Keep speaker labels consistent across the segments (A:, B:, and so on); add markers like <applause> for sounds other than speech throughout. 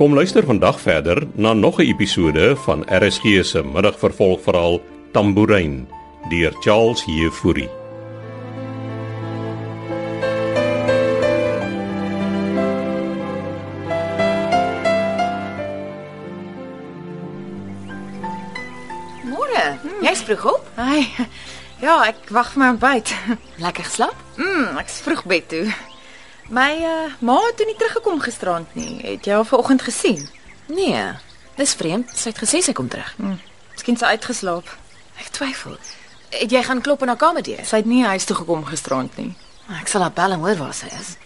A: Kom luister vandag verder na nog 'n episode van RSG se middagvervolgverhaal Tambourine deur Charles Heffury.
B: Môre, jy's vroeg op?
C: Ai. Ja, ek wag vir my ontbyt.
B: <laughs> Lekker geslaap?
C: Mm, ek's vroeg bed toe. My uh, ma het toe nie teruggekom gisteraand nie. Het jy haar vanoggend gesien?
B: Nee. Dis vreemd, sy het gesê sy kom terug.
C: Miskien sy uitgeslaap.
B: Ek twyfel. Het jy gaan klop aan haar kamer deur?
C: Sy het nie huis toe gekom gisteraand nie.
B: Ek sal haar bel en hoor waar sy is.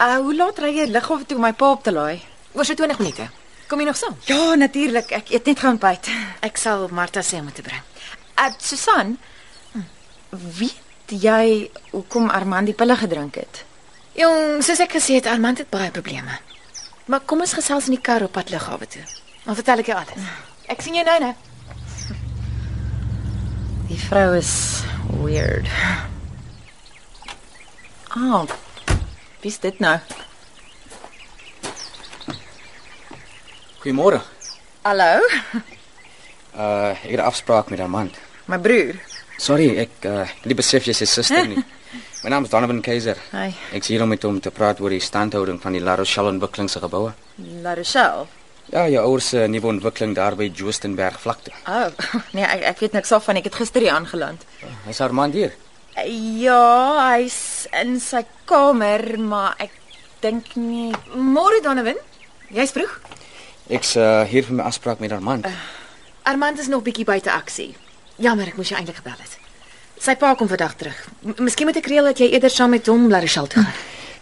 C: Uh, hoe laat ry jy lighof toe om my pa op te laai?
B: Oor so 20 minute. Kom jy nog saam?
C: Ja, natuurlik. Ek eet net gaan ontbyt.
B: Ek sal Martha sê om dit te bring.
C: Uh, Susan, weet Hm. jy hoekom Armand die pille gedrink het?
B: Jong, soos ek gesê het, Armand het baie probleme. Maar kom ons gesels in die kar op pad lughawe toe. Dan vertel ek jou alles.
C: Ek sien jou nou nou. Die vrou is weird. Ah. Oh, Wie's dit nou?
D: Goeiemôre.
C: Hallo,
D: Uh ek het 'n afspraak met Armand.
C: my broer.
D: Sorry, ek uh ek het nie besef jy's sy suster nie. My naam is Donovan Keiser.
C: Hi,
D: Ek's hier om met hom te praat oor die standhouding van die La Rochelle ontwikkeling se geboue.
C: La Rochelle.
D: Ja, jou ouers se nuwe ontwikkeling daar by Jostenberg vlakte.
C: Oh, nee, ek ek weet niks daarvan. Ek het gister hier aangeland.
D: Is Armand hier?
C: Eh, Ja, hy's in sy kamer, maar ek dink nie.
B: Môre Donovan, jy's vroeg.
D: Ek's uh hier vir my afspraak met Armand.
B: Armand is nog bietjie buite aksie. Jammer, ek moes jou eintlik gebel het. Sy pa kom vandag terug. M miskien moet ek reël dat jy eerder saam met hom na Rochelle toe gaan.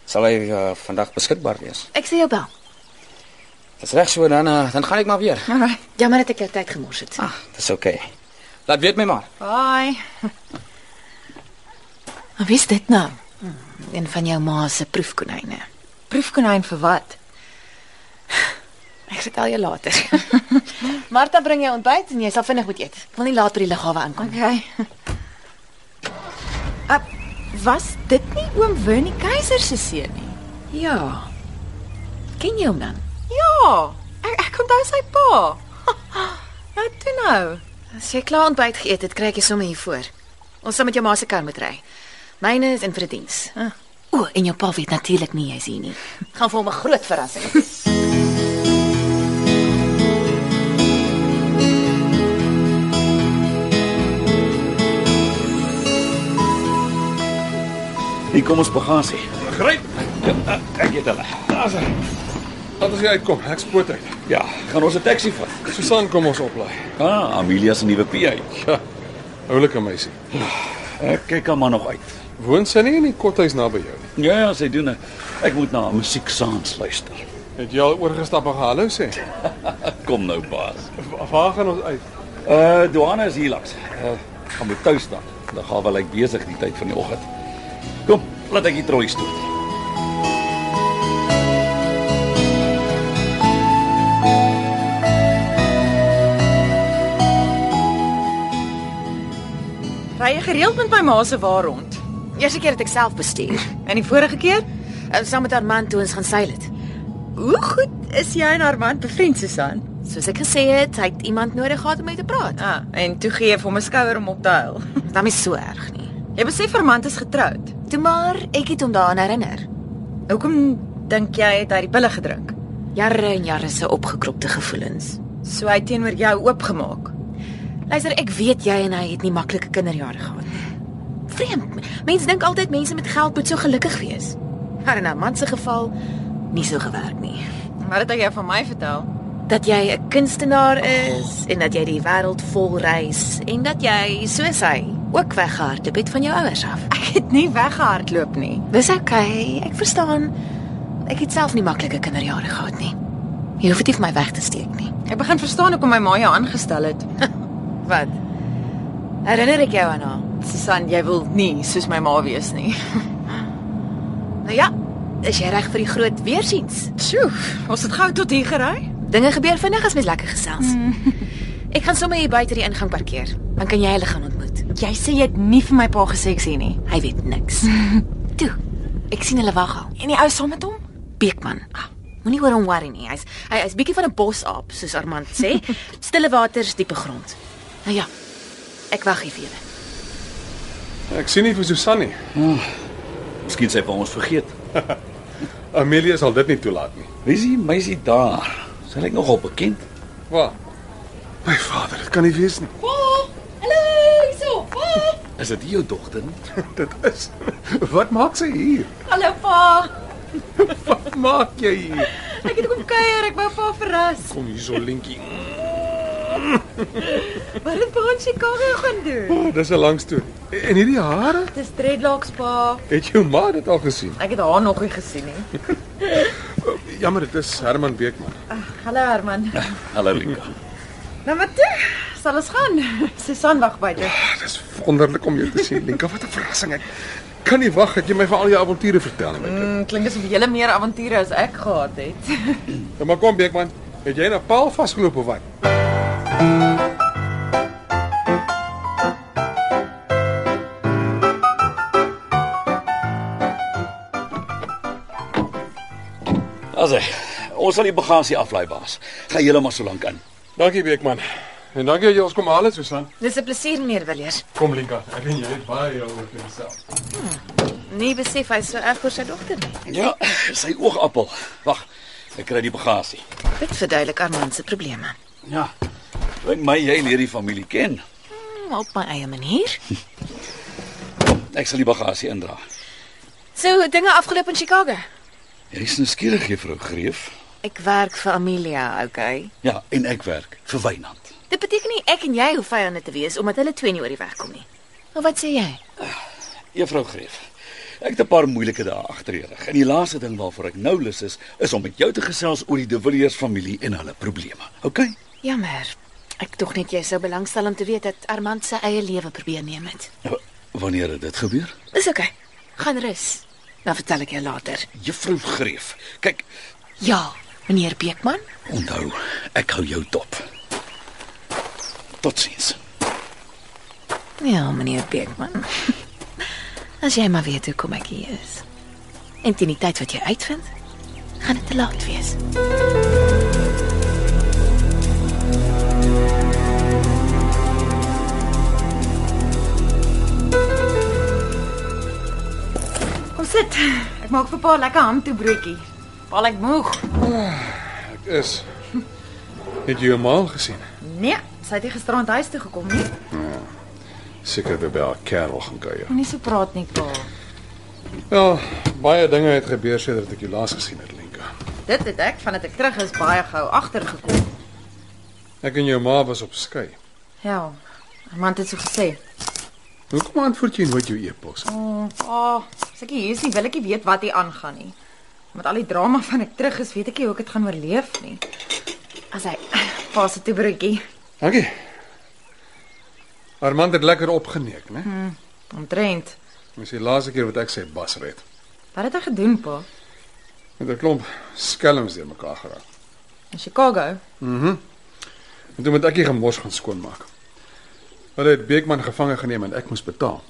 D: Sal hy uh, vandag beskikbaar wees?
B: Ek sê jou bel.
D: Dis reg so dan uh, dan gaan ek maar weer.
C: Alraai.
B: Jammer dat ek jou tyd gemors het.
D: Ah, dis oukei. Okay. Laat weet my maar.
C: Bye.
B: Maar wie's dit nou? Een van jou ma se proefkonyne.
C: Proefkonyn vir wat?
B: Ek vertel jou <laughs> later. Martha bring jou ontbyt en jy sal vinnig moet eet. Ek wil nie laat by die lughawe aankom.
C: Okay. <laughs> Ap was dit nie oom Winnie Keiser se seun nie?
B: Ja. Ken jy hom dan?
C: Ja, ek ek onthou sy pa. Nou toe nou.
B: Ja, As jy klaar ontbyt geëet het, kry ek jou sommer hier voor. Ons sal met jou ma se kar moet ry. Myne is in vir 'n diens.
C: Ah.
B: O, en jou pa weet natuurlik nie jy's hier nie. Gaan vir hom 'n groot verrassing.
E: Hier kom ons bagasie.
F: Gryp. eh,
E: Ek het hulle.
F: Daar's hy. Wat as jy uitkom? Ek spoot uit.
E: Ja, gaan ons 'n taxi vat.
F: Susan kom ons oplaai.
E: Ah, Amelia se nuwe PA.
F: Ja. Oulike meisie.
E: Ek kyk hom maar nog uit.
F: Woon sy nie in die kothuis naby jou nie?
E: Ja, ja, sy doen dit. Ek moet na haar musiek saans luister.
F: Het jy al oorgestap en gehallo sê?
E: Kom nou, baas.
F: Of waar gaan ons uit?
E: Uh, Duane is hier langs. Uh, gaan moet tuis dan. Dan gaan wel ek besig die tyd van die oggend. Kom, laat ek die trolley stoot.
C: Ry jy gereeld met my ma se wa rond?
B: Eerste keer het ek self bestuur.
C: En die vorige keer,
B: Ek saam met Armand toe ons gaan seil het.
C: hoe goed is jy en Armand bevriend, Susan?
B: Soos ek gesê het, hy het iemand nodig gehad om mee te praat.
C: Ah, en toe gee jy vir hom 'n skouer om op te huil.
B: Dan is so erg nie.
C: Jy besef Armand is getroud.
B: Toe maar, ek het hom daaraan herinner.
C: Hoekom dink jy het hy die pille gedrink?
B: Jare en jare se opgekropte gevoelens.
C: So hy het teenoor jou oopgemaak.
B: Luister, ek weet jy en hy het nie maklike kinderjare gehad nie. Vreemd. Mense dink altyd mense met geld moet so gelukkig wees. Maar in 'n man se geval nie so gewerk nie.
C: Maar dit het jy van my vertel.
B: Dat jy 'n kunstenaar is en dat jy die wêreld vol reis en dat jy soos hy ook weggehardloop het van jou ouers af.
C: Ek het nie weggehardloop nie.
B: Dis okay, ek verstaan. Ek het self nie maklike kinderjare gehad nie. Jy hoef dit nie vir my weg te steek nie.
C: Ek begin verstaan hoekom my ma jou aangestel het.
B: Wat? Herinner ek jou aan haar?
C: Susan, jy wil nie soos my ma wees nie.
B: Nou ja, is jy reg vir die groot weersiens?
C: Sjoe, ons het gou tot hier gery.
B: Dinge gebeur vinnig as mens lekker gesels.
C: Hmm.
B: <laughs> Ek gaan sommer hier buite die ingang parkeer. Dan kan jy hulle gaan ontmoet.
C: Jy sê jy het nie vir my pa gesê ek sien nie.
B: Hy
C: <laughs>
B: weet niks. Toe. Ek sien hulle wag al.
C: En die ou saam met hom?
B: Beekman. Ah, Moenie oor hom worry nie. Hy's hy hy's bietjie van 'n bosaap, soos Armand
C: <laughs>
B: sê. Stille waters, diepe grond. Nou ja. Ek wag hier vir julle.
F: Ek sien nie vir Susan nie.
E: Miskien sê hy vir ons vergeet.
F: Amelia sal dit nie toelaat nie.
E: Wie is die meisie daar? Sy lyk nogal bekend.
F: Waar? My vader, dit kan nie wees nie.
E: Is dit jou dogter? nie?
F: Dit is. <laughs> Wat maak sy hier?
C: Hallo pa.
F: Wat maak jy hier?
C: Ek het kom kuier, ek wou pa verras.
F: Kom hier so lintjie.
C: Wat het pa in Chicago nou gaan doen?
F: Oh, dis 'n lang storie. En hierdie hare?
C: Dis dreadlocks pa.
F: Het jou ma dit al gesien?
C: Ek het haar nog nie gesien nie.
F: Jammer, dit is Herman Beekman.
C: Hallo Herman.
E: Hallo Lika.
C: Nou maar toe, sal ons gaan. <laughs> Susan wag buite.
F: Dit is Ah, wonderlik om jou te sien, Linka. Wat 'n verrassing. Ek kan nie wag dat jy my van al jou avonture vertel nie. Mm.
C: Mm, klink asof jy meer avonture as ek gehad <laughs> het.
F: Ja, maar kom Beekman, het jy na paal vasgeloop of wat?
E: Asai. Ons sal die bagasie aflaai baas. Gaan julle maar so lank aan.
F: Dankie Beekman. En dankie dat jy ons kom haal, Susan.
B: Dis 'n plesier meneer Villiers.
F: Kom Linka, ek en jy het baie oor jouself.
B: Nee, besef hy is so erg oor sy dogter nie.
E: Ja, sy oogappel. Wag. Ek kry die bagasie.
B: Dit verduidelik Armand se probleme.
E: Ja. Lyk my jy leer die familie ken.
B: Hm, Op my eie manier.
E: Ek sal die bagasie indra.
B: So, dinge afgeloop in Chicago.
E: Jy's nuuskierig, nou juffrou Greef.
B: Ek werk vir Amelia, okay?
E: Ja, en ek werk vir Wynand.
B: Dit beteken nie ek en jy hoef vyande te wees omdat hulle twee nie oor die weg kom nie. Maar wat sê jy?
E: Juffrou Greef. Ek het 'n paar moeilike dae agter die rug. En die laaste ding waarvoor ek nou lus is, is om met jou te gesels oor die De Villiers familie en hulle probleme. OK?
B: Jammer. Ek tog net jy sou belangstel om te weet dat Armand sy eie lewe probeer neem het.
E: W- Wanneer het dit gebeur?
B: Dis okay. Gaan rus. Dan vertel ek jou later.
E: Juffrou Greef. Kyk,
B: Ja, meneer Beekman.
E: onthou, ek hou jou dop. Totsiens.
B: Ja, meneer Beekman. <laughs> As jy maar weet hoe kom ek hier is. En teen die tyd wat jy uitvind, gaan dit te laat wees.
C: Kom sit. Ek maak vir pa lekker hamtoebroodjie. Pa lyk moeg.
F: Ek is. Het jy hom al gesien?
C: Nee, sy het nie gisterand huis toe gekom nie.
F: Seker dat by haar kerel gaan kuier.
C: Moenie so praat nie, pa.
F: Ja, baie dinge het gebeur sedert ek jou laas gesien het, Linka.
C: Dit het ek vandat ek terug is baie gou agtergekom.
F: Ek en jou ma was op skei.
C: Ja. Armand het so gesê.
F: Hoekom antwoord jy nooit jou e-pos? nie?
C: "Pa, as ek hier is, nie wil ek nie weet wat hier aangaan nie. Met al die drama van ek terug is, weet ek nie hoe ek dit gaan oorleef nie." As hy <clears throat> pa se toebroodjie
F: Dankie. Armand het lekker opgeneek, né? Hmm.
C: omtrent.
F: Dis die laaste keer wat ek sy bas red.
C: Wat het hy gedoen, pa?
F: Met 'n klomp skelms deur mekaar geraak.
C: In Chicago.
F: Mhm. En toe moet ek die gemors gaan skoonmaak. Hulle het Beekman gevange geneem en ek moes betaal.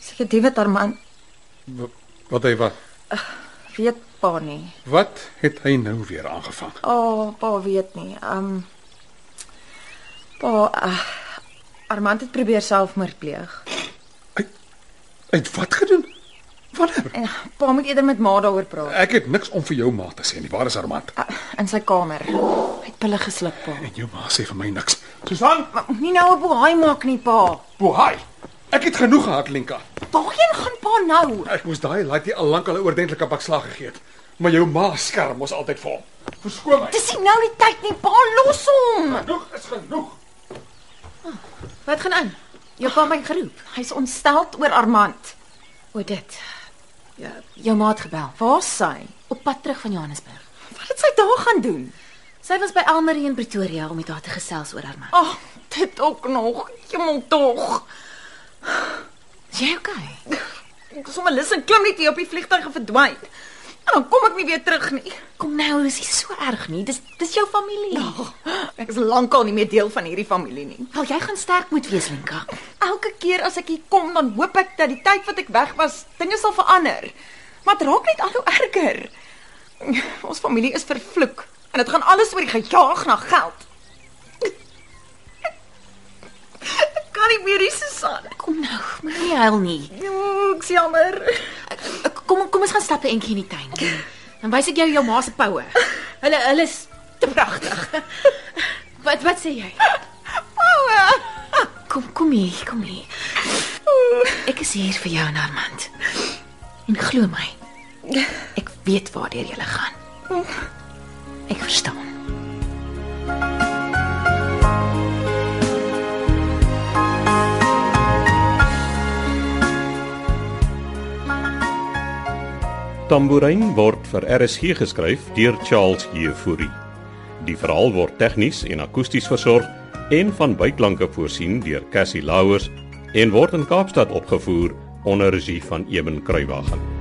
C: Seker die wat Armand
F: Wat hy wat?
C: weet pa nie.
F: Wat het hy nou weer aangevang?
C: O, oh, pa weet nie. Um Pa uh, Armand het probeer selfmoord pleeg.
F: Uit wat gedoen? Wanneer?
C: En pa moet eerder met ma daaroor praat
F: Ek het niks om vir jou ma te sê nie. Waar is Armand?
C: uh, in sy kamer. Hy het pille gesluk, pa.
F: En jou ma sê vir my niks. Susan,
C: Maar moenie nou 'n boei maak nie, pa.
F: bohai. Ek het genoeg gehad, Linka.
C: Waarheen gaan pa nou?
F: Ek moes daai laaitie al lank al 'n ordentlike bakslag gegee het. Maar jou ma skerm ons altyd vir hom. Verskoon my.
C: Dis nie nou die tyd nie, pa. Los hom.
F: Genoeg is genoeg.
B: Wat gaan aan?
C: Jou pa het my geroep. Hy's ontsteld oor Armand.
B: O dit. Ja, jou maat gebel.
C: Waar's sy?
B: Op pad terug van Johannesburg.
C: Wat het sy daar gaan doen?
B: Sy was by Elmarie in Pretoria om met haar te gesels oor haar man.
C: Ag, dit ook nog. Jemmel tog.
B: Is jy okay?
C: Ek is sommer lus en klim net hier op die vliegtuig en verdwyn. En dan kom ek nie weer terug nie.
B: Kom nou, is nie so erg nie. Dis dis jou familie. Ja.
C: Oh, Ek is lankal nie meer deel van hierdie familie nie.
B: Wel, jy gaan sterk moet wees, Lenka.
C: Elke keer as ek hier kom, dan hoop ek dat die tyd wat ek weg was, dinge sal verander. Maar dit raak net al hoe erger. Ons familie is vervloek en dit gaan alles oor die gejaag na geld. Ek kan nie meer hier, Susan.
B: Kom nou, moenie huil nie.
C: Oh, Ek's jammer.
B: Ek- Kom kom ons gaan stap 'n entjie in die tuin. Dan wys ek jou jou ma se poue. Hulle hulle is te pragtig. Wat wat sê jy?
C: Oue.
B: Kom kom hier, kom hier. Ek is hier vir jou, Armand. En glo my. Ek weet waarheen jy gaan. Ek verstaan.
A: Tambourine word vir RSG geskryf deur Charles Jefouri. Die verhaal word tegnies en akoesties versorg en van byklanke voorsien deur Cassie Lauers en word in Kaapstad opgevoer onder regie van Eben Kruiwagen.